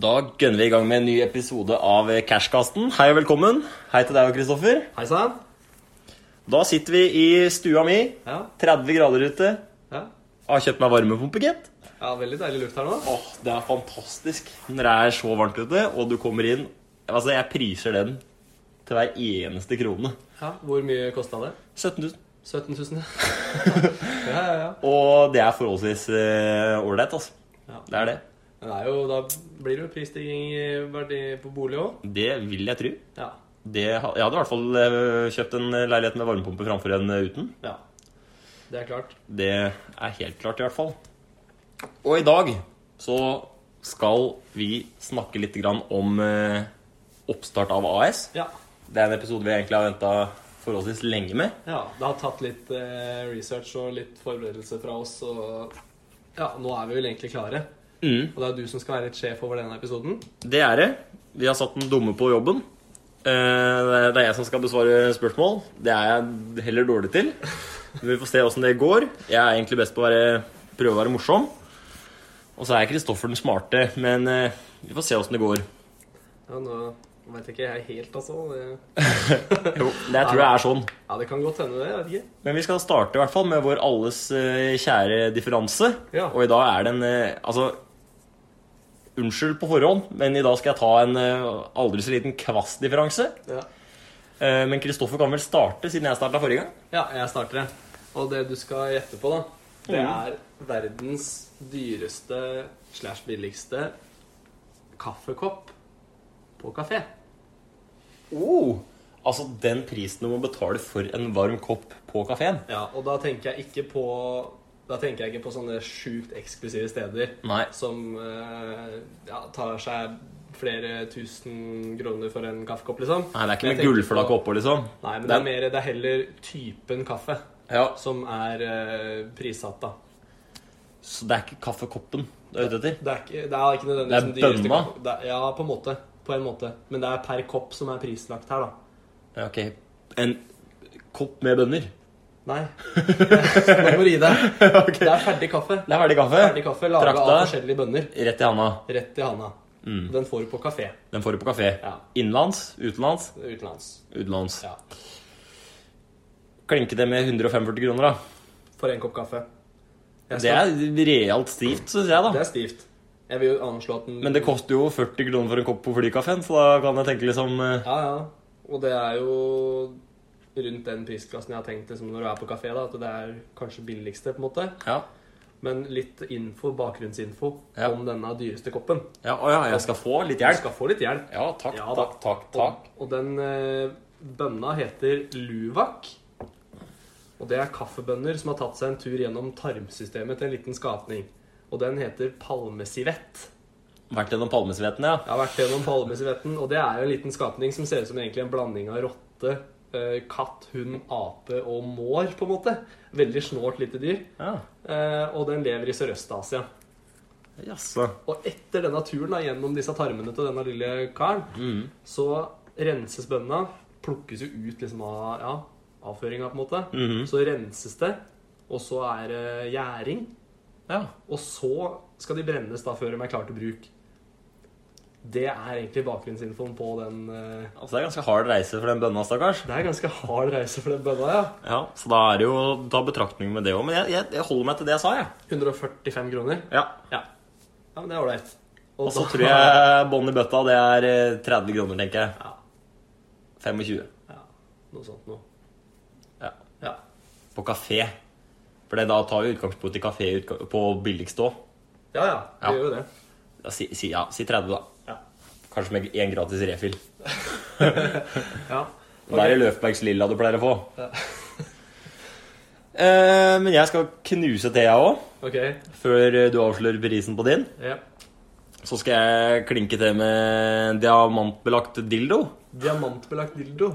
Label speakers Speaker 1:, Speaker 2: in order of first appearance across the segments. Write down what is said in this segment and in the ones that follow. Speaker 1: Da gønner vi i gang med en ny episode av Cashkasten. Hei og velkommen. Hei til deg og Kristoffer.
Speaker 2: Hei sann.
Speaker 1: Da sitter vi i stua mi.
Speaker 2: Ja,
Speaker 1: 30 grader ute.
Speaker 2: ja.
Speaker 1: Har kjøpt meg varmepumpe, gitt.
Speaker 2: ja, veldig deilig luft her nå.
Speaker 1: Åh, det er fantastisk når det er så varmt ute, og du kommer inn Altså, jeg priser den til hver eneste krone.
Speaker 2: Ja, Hvor mye kosta det?
Speaker 1: 17 000.
Speaker 2: 17 000. ja, ja, ja.
Speaker 1: Og det er forholdsvis eh, ålreit, altså.
Speaker 2: Ja.
Speaker 1: Det er det.
Speaker 2: Men det er jo, da blir det jo prisstigning i verdi på bolig òg.
Speaker 1: Det vil jeg tro.
Speaker 2: Ja.
Speaker 1: Det, ha- jeg hadde i hvert fall eh, kjøpt en leilighet med varmepumpe framfor en eh, uten.
Speaker 2: ja. Det er klart.
Speaker 1: Det er helt klart, i hvert fall. Og i dag så skal vi snakke litt grann om eh, oppstart av AS.
Speaker 2: Ja.
Speaker 1: Det er en episode vi egentlig har venta forholdsvis lenge med.
Speaker 2: ja. Det har tatt litt eh, research og litt forberedelse fra oss, og ja, nå er vi vel egentlig klare.
Speaker 1: Mm,
Speaker 2: Og det er du som skal være litt sjef over denne episoden.
Speaker 1: det er det. Vi har satt den dumme på jobben. Eh, det er jeg som skal besvare spørsmål. Det er jeg heller dårlig til. Men vi får se åssen det går. Jeg er egentlig best på å være, prøve å være morsom. Og så er Kristoffer den smarte, men eh, vi får se åssen det går.
Speaker 2: Ja, nå veit ikke jeg helt, altså. Det,
Speaker 1: Jo, det tror jeg er sånn.
Speaker 2: ja, det kan godt hende, det. Jeg vet ikke.
Speaker 1: Men vi skal starte i hvert fall med vår alles eh, kjære differanse.
Speaker 2: Ja.
Speaker 1: Og i dag er det en eh, Altså, unnskyld på forhånd, men i dag skal jeg ta en eh, aldri så liten kvass-differanse.
Speaker 2: Ja.
Speaker 1: Eh, men Kristoffer kan vel starte, siden jeg starta forrige gang?
Speaker 2: Ja, jeg starter det. Og det du skal gjette på, da,
Speaker 1: Mm.
Speaker 2: det er verdens dyreste slash billigste kaffekopp på kafé.
Speaker 1: Oh. Altså den prisen du må betale for en varm kopp på kafeen?
Speaker 2: Ja, og da tenker jeg ikke på da tenker jeg ikke på sånne sjukt eksklusive steder
Speaker 1: Nei.
Speaker 2: som eh, ja, tar seg flere tusen kroner for en kaffekopp, liksom.
Speaker 1: Nei, det er ikke med
Speaker 2: Men jeg tenker
Speaker 1: gullflak
Speaker 2: på-
Speaker 1: oppå, liksom.
Speaker 2: Nei, men det er, mer, det er heller typen kaffe
Speaker 1: ja,
Speaker 2: som er eh, prissatt, da.
Speaker 1: Så det er ikke kaffekoppen du er ute etter?
Speaker 2: Det er ikke, det er ikke nødvendigvis
Speaker 1: Det er
Speaker 2: den dyreste
Speaker 1: bønna?
Speaker 2: koppen. Det er- Ja, på en måte. På en måte. Men det er per kopp som er prislagt her, da.
Speaker 1: Ja, ok. En kopp med bønner?
Speaker 2: Nei. Nå må du gi deg. Det er ferdig kaffe.
Speaker 1: Det er verdig kaffe.
Speaker 2: Ferdig kaffe laga av
Speaker 1: Trakta
Speaker 2: forskjellige bønner.
Speaker 1: rett i handa.
Speaker 2: Rett i handa.
Speaker 1: Mm.
Speaker 2: Den får du på kafé
Speaker 1: Den får du på kafé.
Speaker 2: Ja.
Speaker 1: Innenlands, utenlands,
Speaker 2: utenlands.
Speaker 1: utenlands.
Speaker 2: Ja.
Speaker 1: Klinke det med 145 kroner, da.
Speaker 2: For en kopp kaffe.
Speaker 1: Det
Speaker 2: Jeg skal-
Speaker 1: er realt stivt, syns jeg,
Speaker 2: det
Speaker 1: da.
Speaker 2: er stivt. Jeg vil jo anslå at den
Speaker 1: Men det koster jo 40 kroner for en kopp på flykafeen, så da kan jeg tenke liksom eh,
Speaker 2: Ja, ja. Og det er jo rundt den prisklassen jeg har tenkt liksom, når du er på kafé, da, at det er kanskje billigste, på en måte.
Speaker 1: Ja,
Speaker 2: Men litt info, bakgrunnsinfo
Speaker 1: Ja.
Speaker 2: om denne dyreste koppen.
Speaker 1: ja, å ja jeg skal få litt
Speaker 2: Du
Speaker 1: hjelp.
Speaker 2: skal få litt hjelp.
Speaker 1: Ja, takk,
Speaker 2: Ja, da.
Speaker 1: takk, takk. takk.
Speaker 2: Og, og den eh, bønna heter luvak. Og det er kaffebønner som har tatt seg en tur gjennom tarmsystemet til en liten skapning. Og den heter palmesivett.
Speaker 1: Vært gjennom palmesveten, ja.
Speaker 2: Jeg har vært gjennom palmesivetten, og det er jo en liten skapning som ser ut som egentlig en blanding av rotte, eh, katt, hund, ape og mår, på en måte. Veldig snålt lite dyr.
Speaker 1: ja.
Speaker 2: Eh, og den lever i Sørøst-Asia.
Speaker 1: Jaså.
Speaker 2: Og etter denne turen da, gjennom disse tarmene til denne lille karen,
Speaker 1: Mm.
Speaker 2: så renses bønna, plukkes jo ut liksom av ja, avføringa, på en måte.
Speaker 1: Mm-hmm.
Speaker 2: Så renses det, og så er det gjæring.
Speaker 1: Ja.
Speaker 2: Og så skal de brennes da før de er klare til bruk. Det er egentlig bakgrunnsinfoen på den eh,
Speaker 1: Altså, det er ganske hard reise for den bønna, stakkars.
Speaker 2: Det er ganske hard reise for den bønna, ja.
Speaker 1: Ja, Så da er det jo å ta betraktning med det òg. Men jeg, jeg, jeg holder meg til det jeg sa, jeg.
Speaker 2: 145 kroner.
Speaker 1: Ja.
Speaker 2: Ja, ja men det er ålreit.
Speaker 1: Og så tror jeg bånn i bøtta, det er eh, 30 kroner, tenker jeg.
Speaker 2: Ja,
Speaker 1: 25.
Speaker 2: ja, noe sånt noe.
Speaker 1: Ja.
Speaker 2: Ja.
Speaker 1: på kafé. For det- da tar vi utgangspunkt i kafé utga- på billigst òg.
Speaker 2: Ja, ja, vi
Speaker 1: Ja.
Speaker 2: gjør jo det.
Speaker 1: Si, si, ja, si 30, da.
Speaker 2: Ja.
Speaker 1: Kanskje med én gratis refill.
Speaker 2: ja.
Speaker 1: Da er det Løfbergs Lilla du pleier å få. Eh, men jeg skal knuse til, jeg òg.
Speaker 2: Ok,
Speaker 1: Før eh, du avslører prisen på din.
Speaker 2: ja.
Speaker 1: Så skal jeg klinke til med en diamantbelagt dildo.
Speaker 2: Diamantbelagt dildo.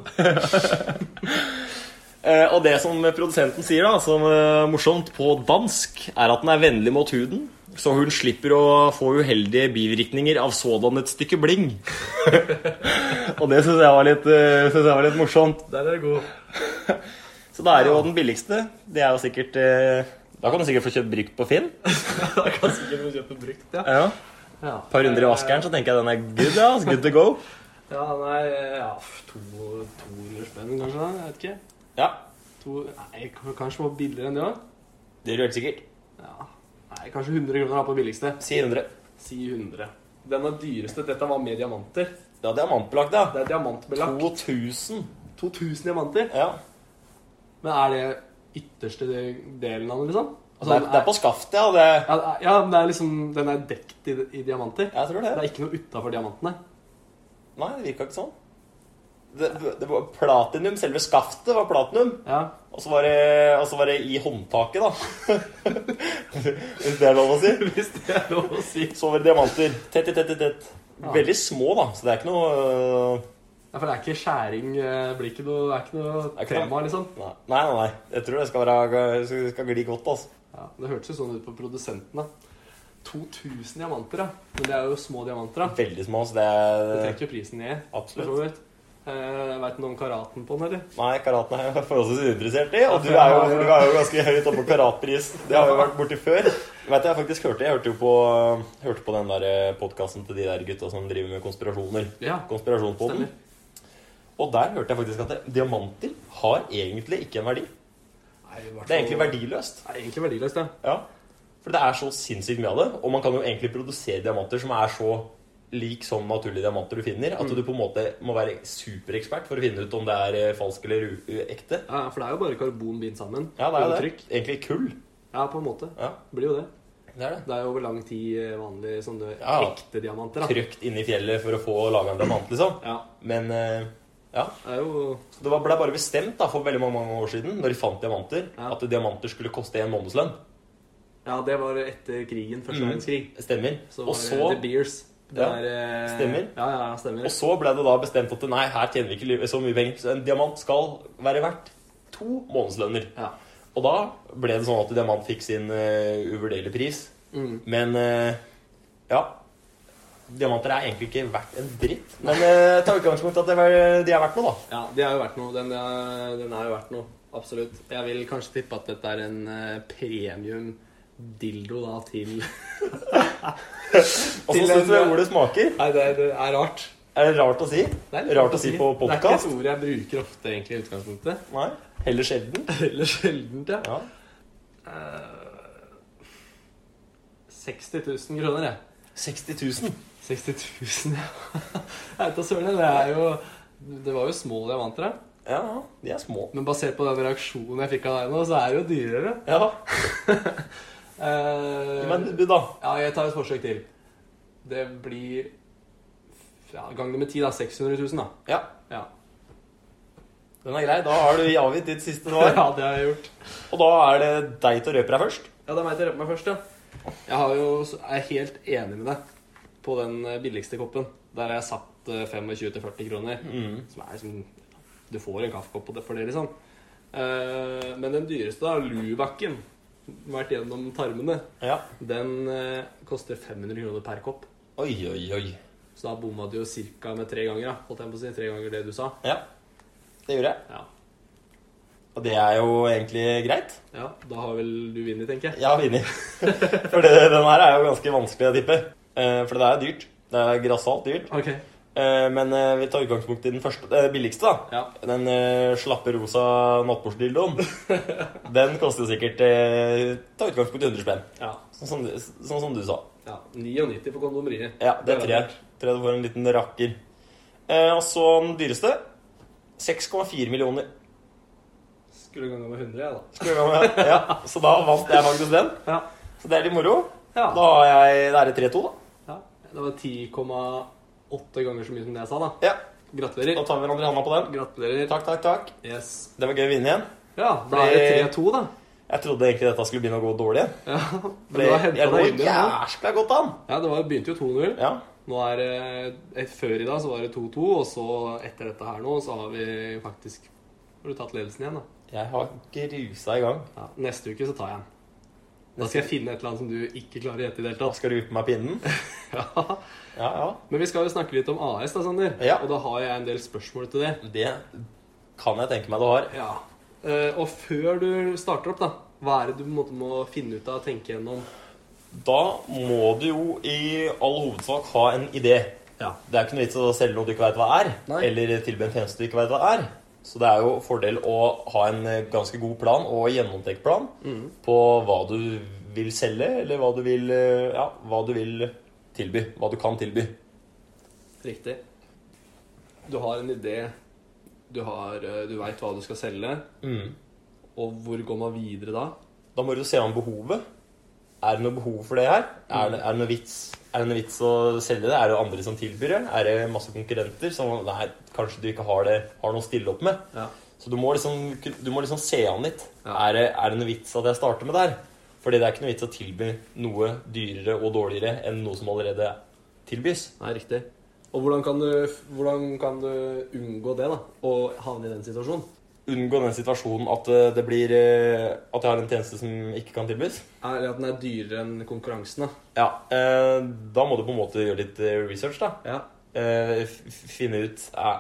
Speaker 1: Eh, og det som produsenten sier, da, som er morsomt på dansk, er at den er vennlig mot huden, så hun slipper å få uheldige bivirkninger av sådan et stykke bling. og det syns jeg, var litt, eh, synes jeg var litt morsomt.
Speaker 2: Der er det god.
Speaker 1: Så da er det jo den billigste. Det er jo sikkert eh, Da kan du sikkert få kjøpt brukt på Finn.
Speaker 2: Da kan sikkert få kjøpt noe brukt, ja.
Speaker 1: Ja.
Speaker 2: Ja.
Speaker 1: Et par runder i vaskeren, så tenker jeg den er good. ja, it's good to go.
Speaker 2: Ja, nei, ja, to- 200 spenn kanskje, da? Jeg vet ikke.
Speaker 1: Ja,
Speaker 2: To, nei, k- kanskje det var billigere enn det òg?
Speaker 1: Det gjør du helt sikkert.
Speaker 2: Ja. Nei, kanskje 100 kroner da på billigste.
Speaker 1: Si 100.
Speaker 2: Si 100. Den er dyreste. Dette var med diamanter.
Speaker 1: Det er diamantbelagt, da.
Speaker 2: Det er diamantbelagt.
Speaker 1: 2000.
Speaker 2: 2000 diamanter.
Speaker 1: Ja.
Speaker 2: Men er det ytterste de- delen av den, liksom? Altså,
Speaker 1: det, er, det er på skaftet, ja. Det,
Speaker 2: ja, det er- ja, men det er liksom, den er dekt i, i diamanter.
Speaker 1: jeg tror
Speaker 2: Det
Speaker 1: det.
Speaker 2: er ikke noe utafor diamantene.
Speaker 1: Nei, det virka ikke sånn. Det, det var platinum. Selve skaftet var platinum.
Speaker 2: Ja.
Speaker 1: Og så var, det- og så var det i håndtaket, da. Hvis det er lov å si.
Speaker 2: Hvis det er lov å si.
Speaker 1: Så var det diamanter. Tett, tett, tett, tett.
Speaker 2: Ja.
Speaker 1: Veldig små, da. Så det er ikke noe øh,
Speaker 2: Ja, for det er ikke skjæring eh, blir ikke noe, Det er ikke
Speaker 1: Det er
Speaker 2: noe
Speaker 1: ikke
Speaker 2: tema, liksom.
Speaker 1: Nei, nei. nei. Jeg tror det skal, være, det skal- det skal gli godt, altså.
Speaker 2: Ja, Det hørtes jo sånn ut på produsenten, da. 2000 diamanter, da. Men det er jo små diamanter, da.
Speaker 1: Veldig små, så det
Speaker 2: Det
Speaker 1: er
Speaker 2: trekker jo prisen ned. for
Speaker 1: Absolutt.
Speaker 2: så vidt. Eh, Veit du noe om karaten på den, eller?
Speaker 1: Nei, karaten er jeg forholdsvis uinteressert i. Og du er jo, du er jo ganske høyt oppe på karatpris. Det har vi vært borti før. Vet du, Jeg faktisk hørte Jeg hørte jo på, hørte på den der podkasten til de der gutta som driver med konspirasjoner.
Speaker 2: Ja,
Speaker 1: Konspirasjonspodden.
Speaker 2: stemmer.
Speaker 1: Og der hørte jeg faktisk at det, diamanter har egentlig ikke en verdi.
Speaker 2: Nei, i hvert
Speaker 1: Det er egentlig
Speaker 2: fall-
Speaker 1: verdiløst.
Speaker 2: Det er egentlig verdiløst, ja.
Speaker 1: Ja. For det er så sinnssykt mye av det. Og man kan jo egentlig produsere diamanter som er så lik sånn naturlige diamanter du finner, at du på en måte må være superekspert for å finne ut om det er eh, falsk eller u- u- ekte.
Speaker 2: ja. For det er jo bare karbon bindt sammen.
Speaker 1: Ja, det er jo det.
Speaker 2: Undertrykk.
Speaker 1: Egentlig kull.
Speaker 2: Ja, på en måte.
Speaker 1: Ja,
Speaker 2: Det blir jo det.
Speaker 1: det er det.
Speaker 2: Det er jo over lang tid eh, vanlig sånne
Speaker 1: Ja.
Speaker 2: ekte diamanter, da.
Speaker 1: Trøkt inn i fjellet for å få laga en diamant, liksom.
Speaker 2: Ja,
Speaker 1: Men eh, ja.
Speaker 2: det er jo
Speaker 1: Så det var- ble bare bestemt da, for veldig mange, mange år siden, når de fant diamanter,
Speaker 2: Ja.
Speaker 1: at diamanter skulle koste en månedslønn.
Speaker 2: Ja, det var etter krigen. Første
Speaker 1: Mm.
Speaker 2: verdenskrig.
Speaker 1: Stemmer.
Speaker 2: Så var
Speaker 1: og,
Speaker 2: det
Speaker 1: så,
Speaker 2: The Beers. Det
Speaker 1: Ja.
Speaker 2: er, eh,
Speaker 1: Stemmer.
Speaker 2: Ja, ja, stemmer.
Speaker 1: og så ble det da bestemt at nei, her tjener vi ikke li- så mye penger, så en diamant skal være verdt to månedslønner.
Speaker 2: Ja.
Speaker 1: Og da ble det sånn at diamant fikk sin eh, uvurderlige pris.
Speaker 2: Mm.
Speaker 1: Men eh, ja. Diamanter er egentlig ikke verdt en dritt. Men eh, ta utgangspunkt i at det var- de er verdt noe, da.
Speaker 2: ja, det er jo verdt noe. Den er, den er jo verdt noe. Absolutt. Jeg vil kanskje tippe at dette er en eh, premium dildo da til
Speaker 1: Og så
Speaker 2: Til
Speaker 1: syns
Speaker 2: en-
Speaker 1: jeg ordet smaker.
Speaker 2: Nei, det, det er rart.
Speaker 1: Er det rart å si?
Speaker 2: Det er litt
Speaker 1: Rart å si på
Speaker 2: Det er ikke
Speaker 1: podkast?
Speaker 2: et ord jeg bruker ofte, egentlig, i utgangspunktet.
Speaker 1: Nei. Heller sjelden.
Speaker 2: Eller sjeldent, ja.
Speaker 1: Ja.
Speaker 2: Eh, 60 000 kroner, jeg.
Speaker 1: 60 000.
Speaker 2: 60 000, ja. Jeg vet da søren. Det er jo Det var jo små diamanter, da.
Speaker 1: Ja, de er små.
Speaker 2: Men basert på den reaksjonen jeg fikk av deg nå, så er det jo dyrere.
Speaker 1: Ja,
Speaker 2: Eh,
Speaker 1: Men du, da?
Speaker 2: Ja, jeg tar et forsøk til. Det blir ja, Gang det med ti, da. 600 000, da.
Speaker 1: Ja,
Speaker 2: Ja.
Speaker 1: den er grei. Da har du avgitt ditt siste svar.
Speaker 2: ja, det har jeg gjort.
Speaker 1: Og da er det deg til å røpe deg først.
Speaker 2: Ja, det er meg til å røpe meg først, ja. Jeg har jo, er helt enig med deg på den eh, billigste koppen. Der har jeg satt eh, 25-40 kroner. Som er liksom Du får en kaffekopp på det- for det, liksom. Eh, men den dyreste, da, Lubakken, vært gjennom tarmene,
Speaker 1: Ja.
Speaker 2: den eh, koster 500 kroner per kopp.
Speaker 1: Oi, oi, oi.
Speaker 2: Så da bomma du jo cirka med tre ganger, da. Holdt jeg på å si. Tre ganger det du sa.
Speaker 1: Ja, det gjorde jeg.
Speaker 2: Ja.
Speaker 1: Og det er jo egentlig greit.
Speaker 2: ja da har vel du vunnet, tenker jeg.
Speaker 1: Jeg har vunnet. For det, den her er jo ganske vanskelig å tippe. Eh, For det er dyrt. Det er grassat dyrt.
Speaker 2: Ok.
Speaker 1: Eh, Men eh, vi tar utgangspunkt i den første, eh, billigste, da.
Speaker 2: Ja.
Speaker 1: Den eh, slappe rosa nattbordsdildoen. den koster jo sikkert eh, Ta utgangspunkt i 100 spenn.
Speaker 2: Ja.
Speaker 1: Sånn, som du- sånn som du sa.
Speaker 2: ja. 99 på kondomeriet.
Speaker 1: Ja, det tror jeg.
Speaker 2: verdt.
Speaker 1: Tror jeg du får en liten rakker. Eh, og så den dyreste. 6,4 millioner.
Speaker 2: Skulle ganga med 100, jeg, da.
Speaker 1: Skal vi gå med- Ja, så da vant jeg faktisk den.
Speaker 2: Ja.
Speaker 1: Så det er litt moro.
Speaker 2: Ja.
Speaker 1: Da har jeg Da er det 3-2, da.
Speaker 2: Ja, Det var 10,8 ganger så mye som det jeg sa, da.
Speaker 1: Ja, Da
Speaker 2: Gratulerer.
Speaker 1: tar vi hverandre i handa på den.
Speaker 2: Gratulerer.
Speaker 1: Takk, takk, takk.
Speaker 2: Yes.
Speaker 1: Det var gøy å vinne igjen.
Speaker 2: Ja, da er det 3-2, da.
Speaker 1: Jeg trodde egentlig dette skulle begynne å gå dårlig.
Speaker 2: Ja,
Speaker 1: For
Speaker 2: Men du har
Speaker 1: jeg, jeg
Speaker 2: hentet
Speaker 1: lå
Speaker 2: deg inn igjen. da.
Speaker 1: jæskla godt an.
Speaker 2: Ja, det var, begynte jo 2-0.
Speaker 1: Ja.
Speaker 2: Nå er det et- Før i dag så var det 2-2, og så etter dette her nå, så har vi faktisk Har du tatt ledelsen igjen, da?
Speaker 1: Jeg har grusa i gang.
Speaker 2: Ja, neste uke så tar jeg den. Da skal jeg finne et eller annet som du ikke klarer å gjette i det hele
Speaker 1: Da
Speaker 2: tatt.
Speaker 1: skal du ut på meg pinnen.
Speaker 2: Ja.
Speaker 1: Ja, ja.
Speaker 2: Men vi skal jo snakke litt om AS, da, Sander.
Speaker 1: Ja.
Speaker 2: Og da har jeg en del spørsmål til det.
Speaker 1: Det kan jeg tenke meg du har.
Speaker 2: Ja. Eh, og før du starter opp, da, hva er det du på en måte må finne ut av og tenke gjennom
Speaker 1: Da må du jo i all hovedsak ha en idé.
Speaker 2: Ja.
Speaker 1: Det er ikke noe vits i å selge noe du ikke veit hva er,
Speaker 2: Nei.
Speaker 1: eller tilby en tjeneste du ikke veit hva er. Så det er jo fordel å ha en eh, ganske god plan og gjennomtenkt plan på hva du vil selge, eller hva du vil, eh, ja, hva du vil tilby. Hva du kan tilby.
Speaker 2: Riktig. Du har en idé. Du, har, eh, du veit hva du skal selge. Og hvor går man videre da?
Speaker 1: Da må du se an behovet. Er det noe behov for det her? Er det, er det noe vits? Er det noe vits å selge det? Er det andre som tilbyr det? Er det masse konkurrenter som nei, kanskje du ikke har, det, har noe å stille opp med?
Speaker 2: Ja.
Speaker 1: Så du må liksom, du må liksom se an litt.
Speaker 2: Ja.
Speaker 1: Er, det, er det noe vits at jeg starter med der? Fordi det er ikke noe vits å tilby noe dyrere og dårligere enn noe som allerede tilbys.
Speaker 2: Nei, riktig. Og hvordan kan, du, hvordan kan du unngå det, da? Å havne i den situasjonen?
Speaker 1: Unngå den situasjonen at eh, det blir eh, At jeg har en tjeneste som ikke kan tilbys.
Speaker 2: Eller at den er dyrere enn konkurransen, da.
Speaker 1: Ja, eh, Da må du på en måte gjøre litt eh, research, da.
Speaker 2: Ja.
Speaker 1: eh, f- finne ut eh,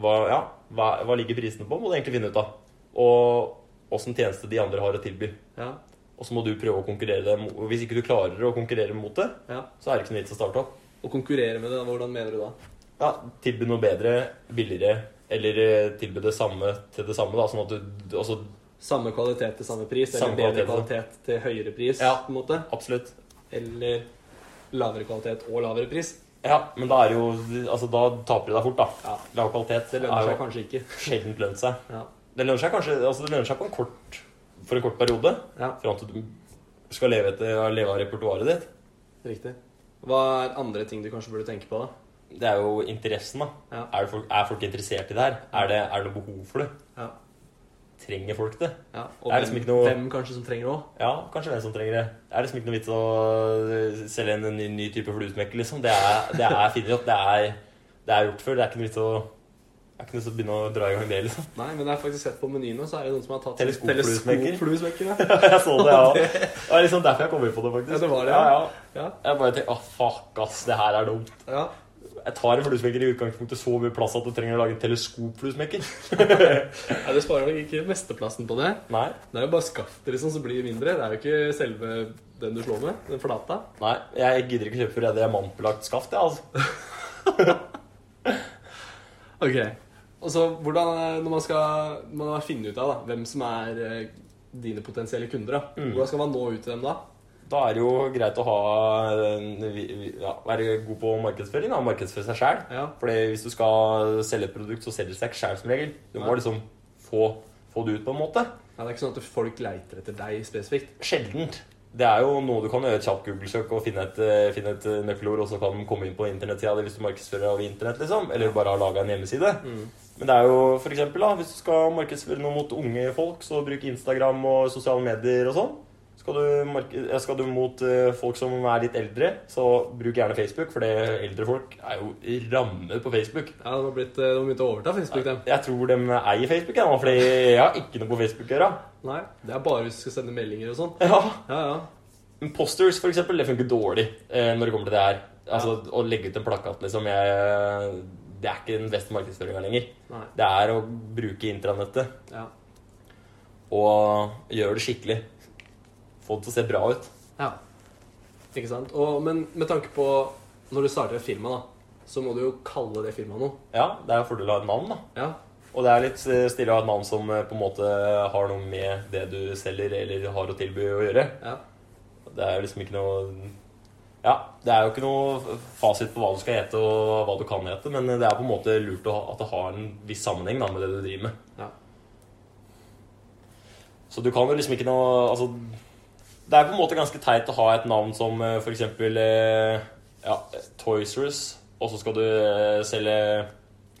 Speaker 1: hva, ja, hva, hva ligger prisene på, må du egentlig finne ut av. Og åssen tjeneste de andre har å tilby.
Speaker 2: Ja.
Speaker 1: Og så må du prøve å konkurrere dem. Og hvis ikke du klarer å konkurrere mot det,
Speaker 2: ja.
Speaker 1: så er det ikke noe vits å starte opp.
Speaker 2: Å konkurrere med det, hvordan mener du da?
Speaker 1: Ja, Tilby noe bedre, billigere, eller eh, tilby det samme til det samme. da, sånn at du også,
Speaker 2: Samme kvalitet til samme pris, eller
Speaker 1: Samme
Speaker 2: bedre
Speaker 1: kvalitet,
Speaker 2: kvalitet til høyere pris,
Speaker 1: Ja.
Speaker 2: på en måte?
Speaker 1: Absolutt.
Speaker 2: Eller lavere kvalitet og lavere pris?
Speaker 1: Ja, men da er jo Altså, da taper du deg fort, da.
Speaker 2: Ja.
Speaker 1: Lav kvalitet
Speaker 2: Det lønner seg kanskje ikke.
Speaker 1: jo sjelden lønt seg.
Speaker 2: Ja.
Speaker 1: Det lønner seg kanskje altså det lønner seg på en kort, for en kort periode.
Speaker 2: ja.
Speaker 1: Fram til du skal leve, etter, leve av repertoaret ditt.
Speaker 2: Riktig. Hva er andre ting du kanskje burde tenke på, da?
Speaker 1: Det er jo interessen, da.
Speaker 2: Ja.
Speaker 1: Er, det folk, er folk interessert i det her? Er det, er det noe behov for det?
Speaker 2: Ja.
Speaker 1: Trenger folk det?
Speaker 2: ja. Og
Speaker 1: Det er
Speaker 2: hvem,
Speaker 1: liksom ikke noe-
Speaker 2: hvem kanskje som trenger det òg?
Speaker 1: Ja, kanskje hvem som trenger det. Det er liksom ikke noe vits å øh, selge en ny, ny type fluesmekker, liksom. Det er, det er finner opp. Det er, det er gjort før. Det er ikke noe vits å det er ikke noe vits å begynne å dra i gang det, liksom.
Speaker 2: Nei, men jeg har faktisk sett på menyen nå, så er det noen som har tatt
Speaker 1: Teleskopfluesmekker.
Speaker 2: teleskopfluesmekker, ja.
Speaker 1: Jeg så det, ja. Det var liksom derfor jeg kom inn på det, faktisk.
Speaker 2: Ja, det var det,
Speaker 1: ja.
Speaker 2: ja.
Speaker 1: ja.
Speaker 2: Ja.
Speaker 1: Jeg bare tenkte åh, fuck, ass, det her er dumt.
Speaker 2: ja.
Speaker 1: Jeg tar en fluesmekker i utgangspunktet så mye plass at du trenger å lage en teleskopfluesmekker.
Speaker 2: Nei, Du sparer nok ikke mesteplassen på det.
Speaker 1: Nei.
Speaker 2: Det er jo bare skaftet liksom, som blir mindre. Det er jo ikke selve den du slår med. Den flata.
Speaker 1: Nei, jeg gidder ikke kjøpe for det diamantbelagt skaft, jeg, altså.
Speaker 2: Ok. Og så hvordan, eh, når man skal man har finne ut av da, hvem som er eh, dine potensielle kunder, da.
Speaker 1: Mm.
Speaker 2: hvordan skal man nå ut til dem da?
Speaker 1: Da er det jo greit å ha en vi- vi- ja, Være god på markedsføring, da. Markedsføre seg sjæl.
Speaker 2: Ja.
Speaker 1: Fordi hvis du skal selge et produkt, så selger det seg ikke sjæl som regel. Du må
Speaker 2: Nei.
Speaker 1: liksom få, få det ut på en måte.
Speaker 2: Ja, det er ikke sånn at folk leiter etter deg spesifikt.
Speaker 1: Sjeldent. Det er jo noe du kan gjøre et kjapt Google-søk og finne et, eh, finne et eh, nøkkelord, og så kan de komme inn på internettsida di hvis du markedsfører over internett, liksom. Eller bare har laga en hjemmeside. Men det er jo for eksempel, da, hvis du skal markedsføre noe mot unge folk, så bruk Instagram og sosiale medier og sånn. Skal du, marke- eh, skal du mot eh, folk som er litt eldre, så bruk gjerne Facebook, for det eldre folk er jo ramme på Facebook.
Speaker 2: Ja, De har, blitt, eh, de har begynt å overta Facebook, dem.
Speaker 1: Jeg tror de eier Facebook, jeg, nå, fordi jeg har ikke noe på Facebook å gjøre.
Speaker 2: Nei, Det er bare hvis du skal sende meldinger og sånn.
Speaker 1: Ja.
Speaker 2: Ja, ja.
Speaker 1: Men Posters, for eksempel, det funker dårlig eh, når det kommer til det her. Altså, Å legge ut en plakat, liksom. Jeg, det er ikke den beste markedsføringa lenger.
Speaker 2: Nei.
Speaker 1: Det er å bruke intranettet.
Speaker 2: Ja.
Speaker 1: og gjør det skikkelig. Få det til å se bra ut.
Speaker 2: ja. Ikke sant? Og, men med tanke på når du starter et firma, da, så må du jo kalle det firmaet noe.
Speaker 1: Ja, det er jo fordel å ha et navn, da.
Speaker 2: Ja.
Speaker 1: Og det er litt eh, stille å ha et navn som eh, på en måte har noe med det du selger eller har å tilby å gjøre.
Speaker 2: ja.
Speaker 1: Det er jo liksom ikke noe Ja, det er jo ikke noe fasit på hva du skal hete og hva du kan hete, men det er på en måte lurt å ha, at det har en viss sammenheng da, med det du driver med.
Speaker 2: ja.
Speaker 1: Så du kan jo liksom ikke noe Altså, det er på en måte ganske teit å ha et navn som eh, for eksempel eh, ja, Toys R Us, og så skal du eh, selge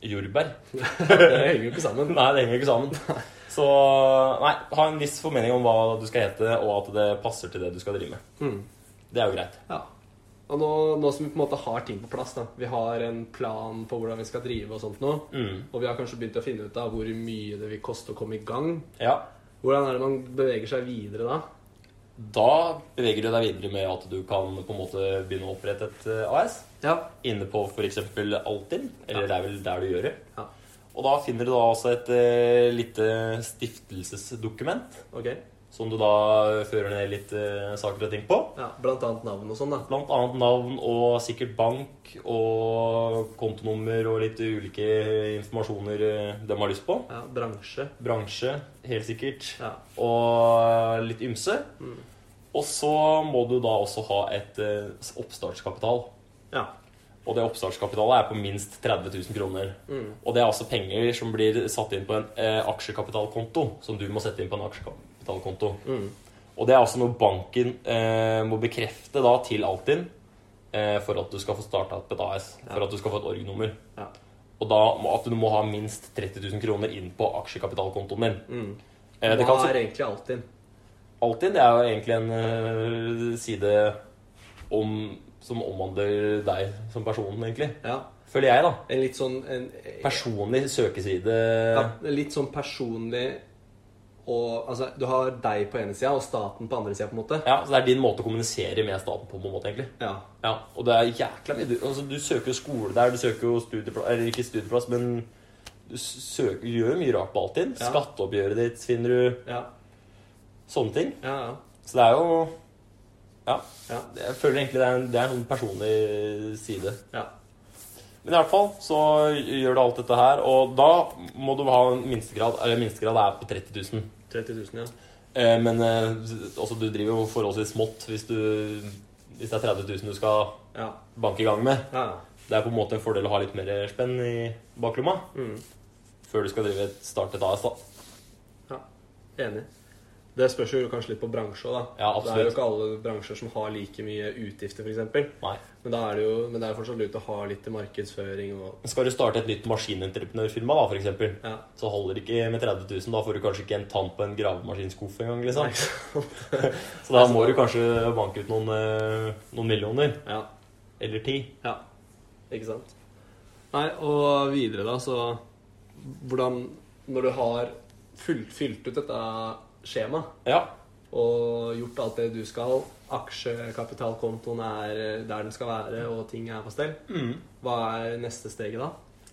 Speaker 1: jordbær.
Speaker 2: Det henger jo ikke sammen.
Speaker 1: Nei, det henger jo ikke sammen. Så nei, ha en viss formening om hva du skal hete, og at det passer til det du skal drive med.
Speaker 2: Mm.
Speaker 1: Det er jo greit.
Speaker 2: Ja. Og nå, nå som vi på en måte har ting på plass, da. vi har en plan på hvordan vi skal drive og sånt nå,
Speaker 1: Mm.
Speaker 2: og vi har kanskje begynt å finne ut av hvor mye det vil koste å komme i gang,
Speaker 1: Ja.
Speaker 2: hvordan er det man beveger seg videre da?
Speaker 1: Da beveger du deg videre med at du kan på en måte begynne å opprette et eh, AS.
Speaker 2: Ja.
Speaker 1: Inne på f.eks. Altinn, eller
Speaker 2: Ja.
Speaker 1: det er vel der du gjør det.
Speaker 2: Ja.
Speaker 1: Og da finner du da altså et eh, lite stiftelsesdokument
Speaker 2: Ok.
Speaker 1: Som du da fører ned litt eh, saker og ting på.
Speaker 2: Ja, Blant annet navn og sånn, da.
Speaker 1: Blant annet navn og sikkert bank og kontonummer og litt ulike informasjoner eh, de har lyst på.
Speaker 2: Ja, Bransje.
Speaker 1: Bransje, helt sikkert.
Speaker 2: Ja.
Speaker 1: Og litt ymse.
Speaker 2: Mm.
Speaker 1: Og så må du da også ha et eh, oppstartskapital.
Speaker 2: ja.
Speaker 1: Og det oppstartskapitalet er på minst 30 000 kroner.
Speaker 2: Mm.
Speaker 1: Og det er altså penger som blir satt inn på en eh, aksjekapitalkonto, som du må sette inn på en aksjekapitalkonto.
Speaker 2: Mm.
Speaker 1: Og det er også noe banken eh, må bekrefte da til Altinn eh, for at du skal få starta et AS, for at du skal få et org-nummer.
Speaker 2: Ja.
Speaker 1: Og da må, at du må ha minst 30 000 kroner inn på aksjekapitalkontoen din.
Speaker 2: Mm.
Speaker 1: Eh, det
Speaker 2: Hva
Speaker 1: kan
Speaker 2: er egentlig Altinn?
Speaker 1: Altinn det er jo egentlig en eh, side om, som omhandler deg som person, egentlig.
Speaker 2: Ja.
Speaker 1: Føler jeg, da.
Speaker 2: En litt sånn en,
Speaker 1: Personlig søkeside.
Speaker 2: ja, Litt sånn personlig og Altså, du har deg på ene sida og staten på andre sida, på en måte.
Speaker 1: Ja, så Det er din måte å kommunisere med staten på. på en måte egentlig
Speaker 2: Ja.
Speaker 1: Ja, Og det er jækla mye Du- altså, Du søker jo skole der, du søker jo studieplass Eller ikke studieplass, men du s- søker, du gjør jo mye rart på Altinn.
Speaker 2: Ja.
Speaker 1: Skatteoppgjøret ditt finner du
Speaker 2: Ja.
Speaker 1: Sånne ting.
Speaker 2: Ja, ja.
Speaker 1: Så det er jo Ja.
Speaker 2: Ja.
Speaker 1: Jeg føler egentlig det er en, det er en sånn personlig side.
Speaker 2: ja.
Speaker 1: Men i hvert fall så gjør du alt dette her, og da må du ha en minstegrad. Eller minstegrad er på 30 000.
Speaker 2: 30 000, ja.
Speaker 1: Eh, Men eh, altså, du driver jo forholdsvis smått hvis, du, hvis det er 30 000 du skal
Speaker 2: Ja.
Speaker 1: banke i gang med.
Speaker 2: ja, ja.
Speaker 1: Det er på en måte en fordel å ha litt mer spenn i baklomma
Speaker 2: Mm.
Speaker 1: før du skal drive et starte et AS. da.
Speaker 2: ja. Enig. Det spørs jo kanskje litt på bransje òg, da.
Speaker 1: Ja,
Speaker 2: det er jo
Speaker 1: absolutt.
Speaker 2: ikke alle bransjer som har like mye utgifter, f.eks.
Speaker 1: Nei.
Speaker 2: Men da er det jo men det er jo fortsatt lurt å ha litt til markedsføring og
Speaker 1: Skal du starte et nytt maskinentreprenørfirma, da, for eksempel,
Speaker 2: Ja.
Speaker 1: så holder det ikke med 30 000. Da får du kanskje ikke en tann på en gravemaskinskuff engang. Liksom. Så da må du kanskje banke ut noen, eh, noen millioner.
Speaker 2: ja.
Speaker 1: Eller ti.
Speaker 2: Ja, ikke sant? Nei, og videre da, så hvordan Når du har fylt, fylt ut dette skjemaet
Speaker 1: Ja.
Speaker 2: og gjort alt det du skal, aksjekapitalkontoen er eh, der den skal være, og ting er på stell,
Speaker 1: Mm.
Speaker 2: hva er neste steget da?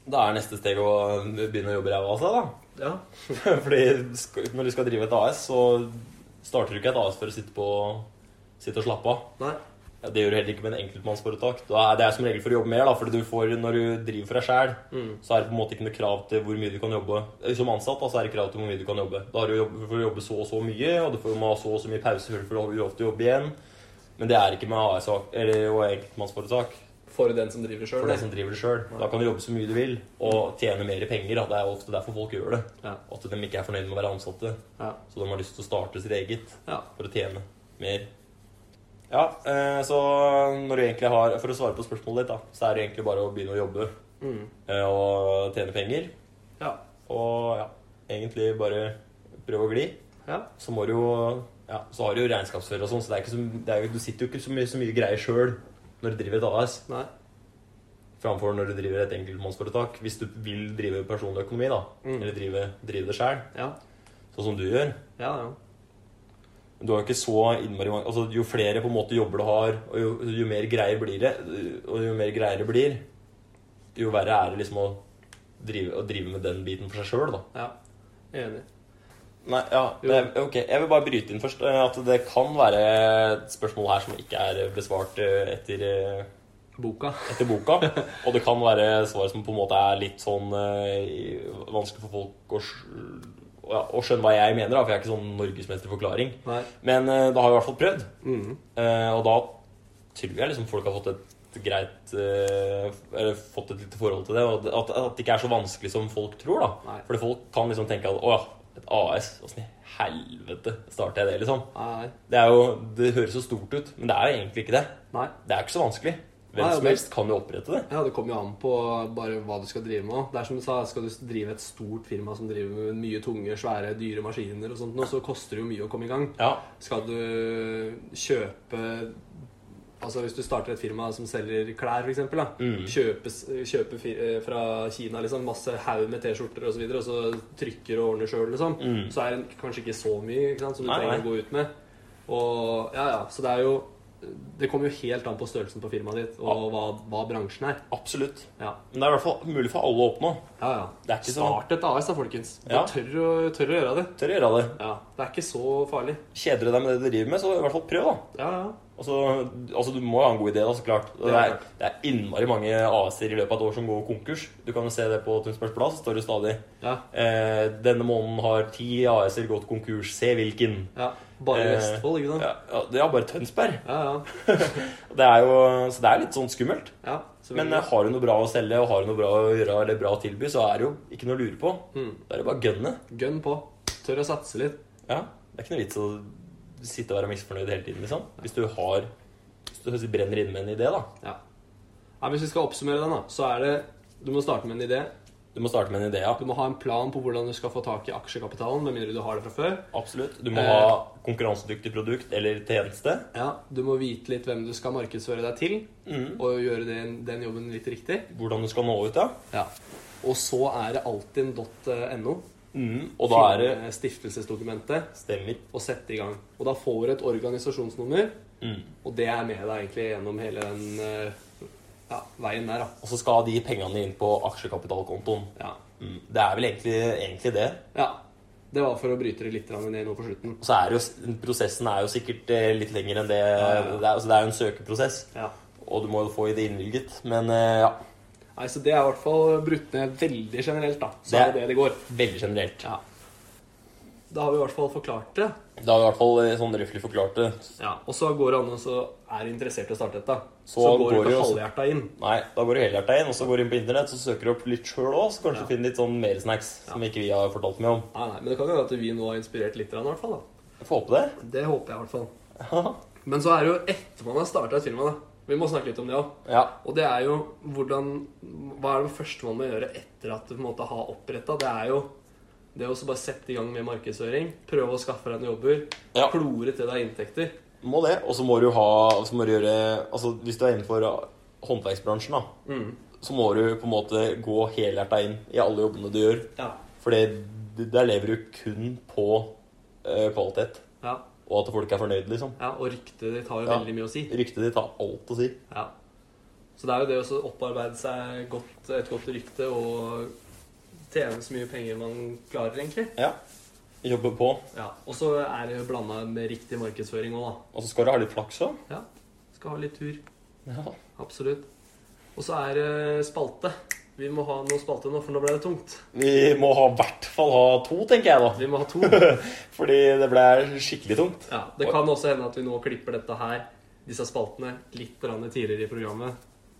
Speaker 1: Da er neste steg å begynne å jobbe ræva av seg, da.
Speaker 2: Ja.
Speaker 1: Fordi sk- når du skal drive et AS, så starter du ikke et AS for å sitte, på, sitte og slappe av.
Speaker 2: Nei.
Speaker 1: Ja, Det gjør du heller ikke med en enkeltmannsforetak. Da er det er som regel for å jobbe mer, da, fordi du får, når du driver for deg sjæl,
Speaker 2: Mm.
Speaker 1: så er det på en måte ikke noe krav til hvor mye du kan jobbe. Eh, Som ansatt da, så er det krav til hvor mye du kan jobbe. Da har du jobb, får du jobbe så og så mye, og du får må ha så og så mye pause før du får lov til å jobbe igjen. Men det er ikke med AS og eller- og enkeltmannsforetak.
Speaker 2: For den som driver
Speaker 1: For
Speaker 2: sjøl.
Speaker 1: deg som driver det sjøl. Da kan du jobbe så mye du vil, og tjene mer penger. Da. Det er jo ofte derfor folk gjør det.
Speaker 2: Ja.
Speaker 1: At de ikke er fornøyd med å være ansatte.
Speaker 2: Ja.
Speaker 1: Så de har lyst til å starte sitt eget
Speaker 2: ja.
Speaker 1: for å tjene mer. Ja, eh, så når du egentlig har For å svare på spørsmålet ditt, da, så er det egentlig bare å begynne å jobbe
Speaker 2: Mm.
Speaker 1: eh, og tjene penger.
Speaker 2: ja.
Speaker 1: Og ja, egentlig bare prøve å gli.
Speaker 2: Ja.
Speaker 1: Så må du jo Ja, så har du jo regnskapsfører og sånn, så, det er ikke så det er jo, du sitter jo ikke så mye, så mye greier sjøl når du driver et AS,
Speaker 2: Nei.
Speaker 1: framfor når du driver et enkeltmannsforetak. Hvis du vil drive personlig økonomi, da,
Speaker 2: Mm.
Speaker 1: eller drive, drive det sjøl,
Speaker 2: Ja.
Speaker 1: sånn som du gjør,
Speaker 2: Ja, ja.
Speaker 1: Men Du har jo ikke så innmari mange altså, Jo flere på en måte jobber du har, og jo, jo mer greier blir det, og jo mer greier det blir, jo verre er det liksom å drive, å drive med den biten for seg sjøl, da.
Speaker 2: ja. Enig.
Speaker 1: Nei, ja, det, ok, Jeg vil bare bryte inn først eh, at det kan være et spørsmål her som ikke er besvart eh, etter, eh,
Speaker 2: Boka.
Speaker 1: etter boka. Og det kan være svar som på en måte er litt sånn eh, i- vanskelig for folk å, skj- ja, å skjønne hva jeg mener, da, for jeg er ikke sånn norgesmesterforklaring.
Speaker 2: Nei.
Speaker 1: Men eh, da har jeg i hvert fall prøvd.
Speaker 2: Mm.
Speaker 1: Eh, og da tror jeg liksom folk har fått et greit eh, Eller fått et lite forhold til det. Og at, at det ikke er så vanskelig som folk tror. da
Speaker 2: Nei.
Speaker 1: Fordi folk kan liksom tenke at å ja, et AS, åssen i helvete starter jeg det? liksom
Speaker 2: Nei.
Speaker 1: Det er jo, det høres så stort ut, men det er jo egentlig ikke det.
Speaker 2: Nei.
Speaker 1: Det er ikke så vanskelig. Hvem
Speaker 2: Nei,
Speaker 1: som
Speaker 2: men-
Speaker 1: helst kan jo opprette det.
Speaker 2: Ja, Det kommer jo an på bare hva du skal drive med. Det er som du sa, Skal du drive et stort firma som driver med mye tunge, svære, dyre maskiner, og sånt, nå, så koster det jo mye å komme i gang.
Speaker 1: Ja,
Speaker 2: Skal du kjøpe Altså Hvis du starter et firma som selger klær, f.eks. Mm.
Speaker 1: Mm.
Speaker 2: Kjøpe, kjøpe fi- eh, fra Kina liksom, masse haug med T-skjorter osv., og så trykker og ordner sjøl, liksom,
Speaker 1: Mm.
Speaker 2: så er det kanskje ikke så mye ikke sant, som du
Speaker 1: Nei,
Speaker 2: trenger
Speaker 1: nei.
Speaker 2: å gå ut med. Og, ja, ja, så det er jo Det kommer jo helt an på størrelsen på firmaet ditt og hva, hva bransjen er.
Speaker 1: Absolutt.
Speaker 2: Ja,
Speaker 1: Men det er i hvert fall mulig for alle å oppnå.
Speaker 2: ja, ja.
Speaker 1: Det er ikke sånn så
Speaker 2: Start et AS, da, folkens. Du
Speaker 1: Ja.
Speaker 2: tør, å, tør å gjøre det.
Speaker 1: tør å gjøre det.
Speaker 2: Ja, Det er ikke så farlig.
Speaker 1: Kjeder du deg med det du driver med, så i hvert fall prøv, da.
Speaker 2: Ja, ja.
Speaker 1: Altså, altså Du må jo ha en god idé, da, så klart. Det
Speaker 2: er
Speaker 1: er, det er innmari mange AS-er i løpet av et år som går konkurs. Du kan jo se det på Tønsbergs Blad, så står det stadig
Speaker 2: ja,
Speaker 1: eh, 'Denne måneden har ti AS-er gått konkurs. Se hvilken'.
Speaker 2: ja. Bare i
Speaker 1: Eh,
Speaker 2: Vestfold, ikke sant?
Speaker 1: Ja, ja, det er bare Tønsberg.
Speaker 2: Ja, ja.
Speaker 1: Det er jo, så det er litt sånn skummelt.
Speaker 2: ja så
Speaker 1: Men
Speaker 2: veldig.
Speaker 1: eh, har du noe bra å selge, og har du noe bra å gjøre, eller bra å tilby, så er det jo ikke noe å lure på.
Speaker 2: Mm.
Speaker 1: Da er det bare å gunne.
Speaker 2: Gønn på. Tør å satse litt.
Speaker 1: Ja, det er ikke noe vits å sitte og være misfornøyd hele tiden, liksom. Hvis du har Hvis du brenner inne med en idé, da.
Speaker 2: Ja. Nei, Hvis vi skal oppsummere den, da, så er det Du må starte med en idé.
Speaker 1: Du må starte med en idé, ja.
Speaker 2: Du må ha en plan på hvordan du skal få tak i aksjekapitalen, med mindre du har det fra før.
Speaker 1: Absolutt. Du må
Speaker 2: Eh.
Speaker 1: ha konkurransedyktig produkt eller tjeneste.
Speaker 2: Ja, Du må vite litt hvem du skal markedsføre deg til,
Speaker 1: Mm.
Speaker 2: og gjøre den, den jobben litt riktig.
Speaker 1: Hvordan du skal nå ut, ja.
Speaker 2: Ja. Og så er det eh, altinn.no.
Speaker 1: Mm. Og da er det
Speaker 2: Finne stiftelsesdokumentet
Speaker 1: Stemmer.
Speaker 2: og sette i gang. Og da får du et organisasjonsnummer,
Speaker 1: Mm.
Speaker 2: og det er med deg egentlig gjennom hele den eh, ja, veien der, da.
Speaker 1: Og så skal de pengene inn på aksjekapitalkontoen.
Speaker 2: Ja.
Speaker 1: Mm. Det er vel egentlig, egentlig det.
Speaker 2: ja. Det var for å bryte det litt grann ned nå på slutten.
Speaker 1: Og så er det jo, prosessen er jo sikkert eh, litt lenger enn det
Speaker 2: ja, ja.
Speaker 1: Det, er, altså det er jo en søkeprosess,
Speaker 2: Ja.
Speaker 1: og du må jo få det innvilget. Men eh, ja,
Speaker 2: Nei, så Det er i hvert fall brutt ned veldig generelt, da. Så
Speaker 1: Det-
Speaker 2: er det det det går.
Speaker 1: veldig generelt.
Speaker 2: Ja. Da har vi i hvert fall forklart det.
Speaker 1: Da har vi i hvert fall eh, sånn røftlig forklart det.
Speaker 2: Ja, Og så går det an å så er interessert i å starte dette. Så,
Speaker 1: Så
Speaker 2: går du
Speaker 1: går det
Speaker 2: ikke
Speaker 1: jo også-
Speaker 2: halvhjerta inn.
Speaker 1: Nei, da går du helhjerta inn, og så går du inn på internett og søker opp litt sjøl òg. Så kanskje
Speaker 2: Ja.
Speaker 1: du finner litt sånn mer snacks som ikke vi har fortalt mye om.
Speaker 2: Nei, nei, Men det kan jo være at vi nå har inspirert litt, grann, i hvert fall. da.
Speaker 1: Jeg får håpe det.
Speaker 2: Det håper jeg i hvert fall. Men så er det jo etter man har starta et firma, da. Vi må snakke litt om det òg.
Speaker 1: ja.
Speaker 2: Og det er jo hvordan Hva er det første man må gjøre etter at du på en måte har oppretta? Det er jo det å så bare sette i gang med markedsføring. Prøve å skaffe deg noen jobber.
Speaker 1: Ja.
Speaker 2: Klore til deg inntekter.
Speaker 1: Må det. Og så må du ha så må du gjøre, altså Hvis du er innenfor ah, håndverksbransjen, da, så må du på en måte gå helhjerta inn i alle jobbene du gjør.
Speaker 2: Ja.
Speaker 1: For det, der lever du kun på eh, kvalitet,
Speaker 2: ja.
Speaker 1: og at folk er fornøyde, liksom.
Speaker 2: Ja, og ryktet ditt har jo
Speaker 1: Ja.
Speaker 2: veldig mye å si.
Speaker 1: Ryktet ditt har alt å si.
Speaker 2: Ja. Så det er jo det å så opparbeide seg godt, et godt rykte og tjene så mye penger man klarer, egentlig.
Speaker 1: Ja. Jobbe på.
Speaker 2: Ja. Og så er det jo blanda med riktig markedsføring òg,
Speaker 1: Og så skal du ha litt flaks òg.
Speaker 2: da. Ja. Skal ha litt tur.
Speaker 1: Ja.
Speaker 2: Absolutt. Og så er det spalte. Vi må ha noe spalte nå, for nå ble det tungt.
Speaker 1: Vi må ha, i hvert fall ha to, tenker jeg,
Speaker 2: Vi må ha to.
Speaker 1: da. Fordi det ble skikkelig tungt.
Speaker 2: Ja, Det kan også hende at vi nå klipper dette her, disse spaltene, litt grann tidligere i programmet.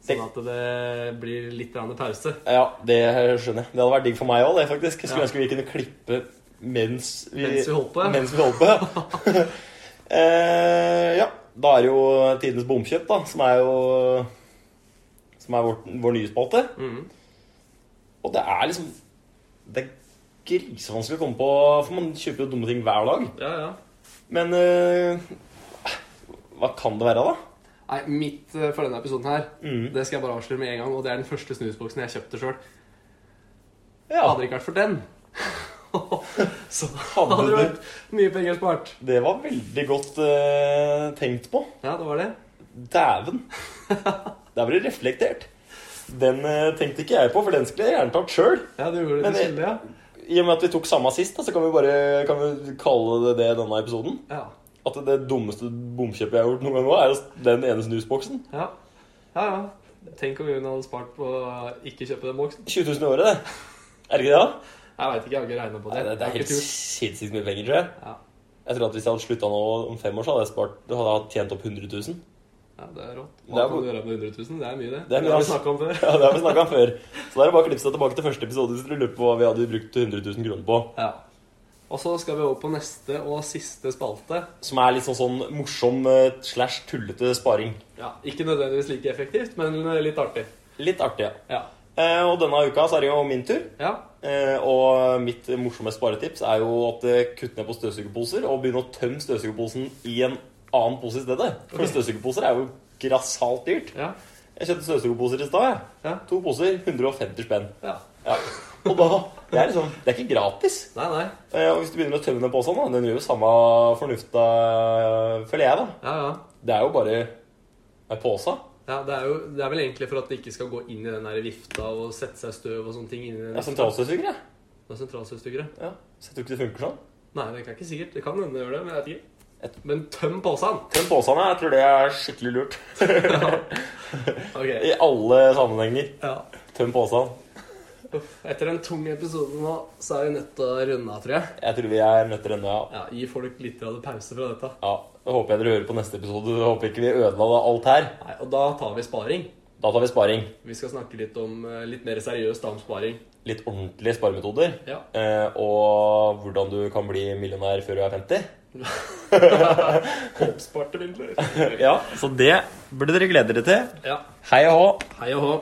Speaker 2: Sånn at det blir litt grann pause.
Speaker 1: Ja, det skjønner jeg. Det hadde vært digg for meg òg, det, faktisk. Jeg skulle
Speaker 2: Ja.
Speaker 1: ønske vi kunne klippe mens vi,
Speaker 2: Mens vi holdt på, ja.
Speaker 1: Mens vi holdt på. eh, ja. Da er det jo tidenes bomkjøp, da, som er jo Som er vår, vår nye spalte.
Speaker 2: Mhm.
Speaker 1: Og det er liksom Det er grisevanskelig å komme på, for man kjøper jo dumme ting hver dag.
Speaker 2: Ja, ja.
Speaker 1: Men eh, hva kan det være, da?
Speaker 2: Nei, mitt eh, for denne episoden her,
Speaker 1: Mhm.
Speaker 2: det skal jeg bare avsløre med en gang, og det er den første snusboksen jeg kjøpte sjøl.
Speaker 1: Ja,
Speaker 2: Hadde det ikke vært for den, så
Speaker 1: Hadde
Speaker 2: hadde det
Speaker 1: du-
Speaker 2: vært mye penger spart.
Speaker 1: det var veldig godt eh, tenkt på.
Speaker 2: Ja, det var det.
Speaker 1: Dæven. Der ble det reflektert. Den eh, tenkte ikke jeg på, for den skulle jeg gjerne tatt sjøl.
Speaker 2: Ja, du gjorde det
Speaker 1: Men
Speaker 2: til
Speaker 1: det-
Speaker 2: skille, ja.
Speaker 1: I og med at vi tok samme sist, da, så kan vi bare kan vi kalle det det denne episoden.
Speaker 2: ja.
Speaker 1: At det dummeste bomkjøpet jeg har gjort noen gang nå, er jo den ene snusboksen.
Speaker 2: Ja, ja. ja. Tenk om hun hadde spart på å ikke kjøpe den boksen.
Speaker 1: 20 000 i året, det. Er det ikke det? da?
Speaker 2: Jeg veit ikke, jeg har ikke regna på
Speaker 1: Nei,
Speaker 2: det.
Speaker 1: det, det er
Speaker 2: Jeg har
Speaker 1: helt
Speaker 2: ikke turt.
Speaker 1: sinnssykt mye penger, tror jeg.
Speaker 2: Ja.
Speaker 1: Jeg tror at Hvis jeg hadde slutta nå om fem år, så hadde jeg spart, da hadde jeg tjent opp 100 000.
Speaker 2: ja, det er rått.
Speaker 1: Det
Speaker 2: Hva
Speaker 1: er
Speaker 2: kan
Speaker 1: bo-
Speaker 2: du gjøre med 100 000? Det er mye, det.
Speaker 1: Det er mye,
Speaker 2: har vi
Speaker 1: altså.
Speaker 2: snakka om før.
Speaker 1: Ja, det har vi snakka om før. Så da er det bare å klippe seg tilbake til første episode hvis dere lurer på hva vi hadde brukt 100 000 kroner på.
Speaker 2: Ja. Og så skal vi over på neste og siste spalte.
Speaker 1: Som er litt sånn, sånn morsom eh, slash tullete sparing.
Speaker 2: Ja, Ikke nødvendigvis like effektivt, men litt artig.
Speaker 1: Litt artig, ja.
Speaker 2: Ja.
Speaker 1: Eh, og denne uka så er det jo min tur.
Speaker 2: ja.
Speaker 1: Eh, og mitt morsomme sparetips er jo at eh, kutt ned på støvsugerposer og begynn å tømme støvsugerposen i en annen pose i stedet. For
Speaker 2: Ok.
Speaker 1: støvsugerposer er jo grassat dyrt.
Speaker 2: Ja.
Speaker 1: Jeg kjøpte støvsugerposer i stad. jeg.
Speaker 2: Ja.
Speaker 1: To poser 150 spenn.
Speaker 2: ja.
Speaker 1: Ja. Og da Det er liksom Det er ikke gratis.
Speaker 2: Nei, nei.
Speaker 1: Eh, og hvis du begynner å tømme den posen, da Den gjør jo samme fornufta, føler jeg, da.
Speaker 2: Ja, ja.
Speaker 1: Det er jo bare ei pose.
Speaker 2: Ja, det, er jo, det er vel egentlig for at det ikke skal gå inn i den der vifta og sette seg i støv og sånne ting. Inni den
Speaker 1: Det er sentralstøvsugere.
Speaker 2: Det er sentralstøvsugere.
Speaker 1: Ja. Så jeg tror ikke det funker sånn.
Speaker 2: Nei, det er ikke sikkert. Det kan hende det gjør det, men jeg vet
Speaker 1: Et-
Speaker 2: ikke. Men tøm posen!
Speaker 1: Den posen her, jeg tror det er skikkelig lurt.
Speaker 2: Ok.
Speaker 1: I alle sammenhenger.
Speaker 2: Ja.
Speaker 1: Tøm posen.
Speaker 2: Etter den tunge episoden nå, så er vi nødt til å runde av, tror jeg.
Speaker 1: Jeg tror vi er nødt til å runde av.
Speaker 2: Ja, Gi folk litt av pause fra dette.
Speaker 1: Ja, jeg håper jeg dere hører på neste episode. Jeg håper ikke vi ødela alt her.
Speaker 2: Nei, Og da tar vi sparing.
Speaker 1: Da tar vi sparing.
Speaker 2: Vi skal snakke litt om eh, litt mer seriøst da om sparing.
Speaker 1: Litt ordentlige sparemetoder.
Speaker 2: Ja.
Speaker 1: Eh, og hvordan du kan bli millionær før du er 50.
Speaker 2: Oppsparte midler.
Speaker 1: Ja, Så det burde dere glede dere til.
Speaker 2: ja.
Speaker 1: Hei og hå.
Speaker 2: Hei og hå.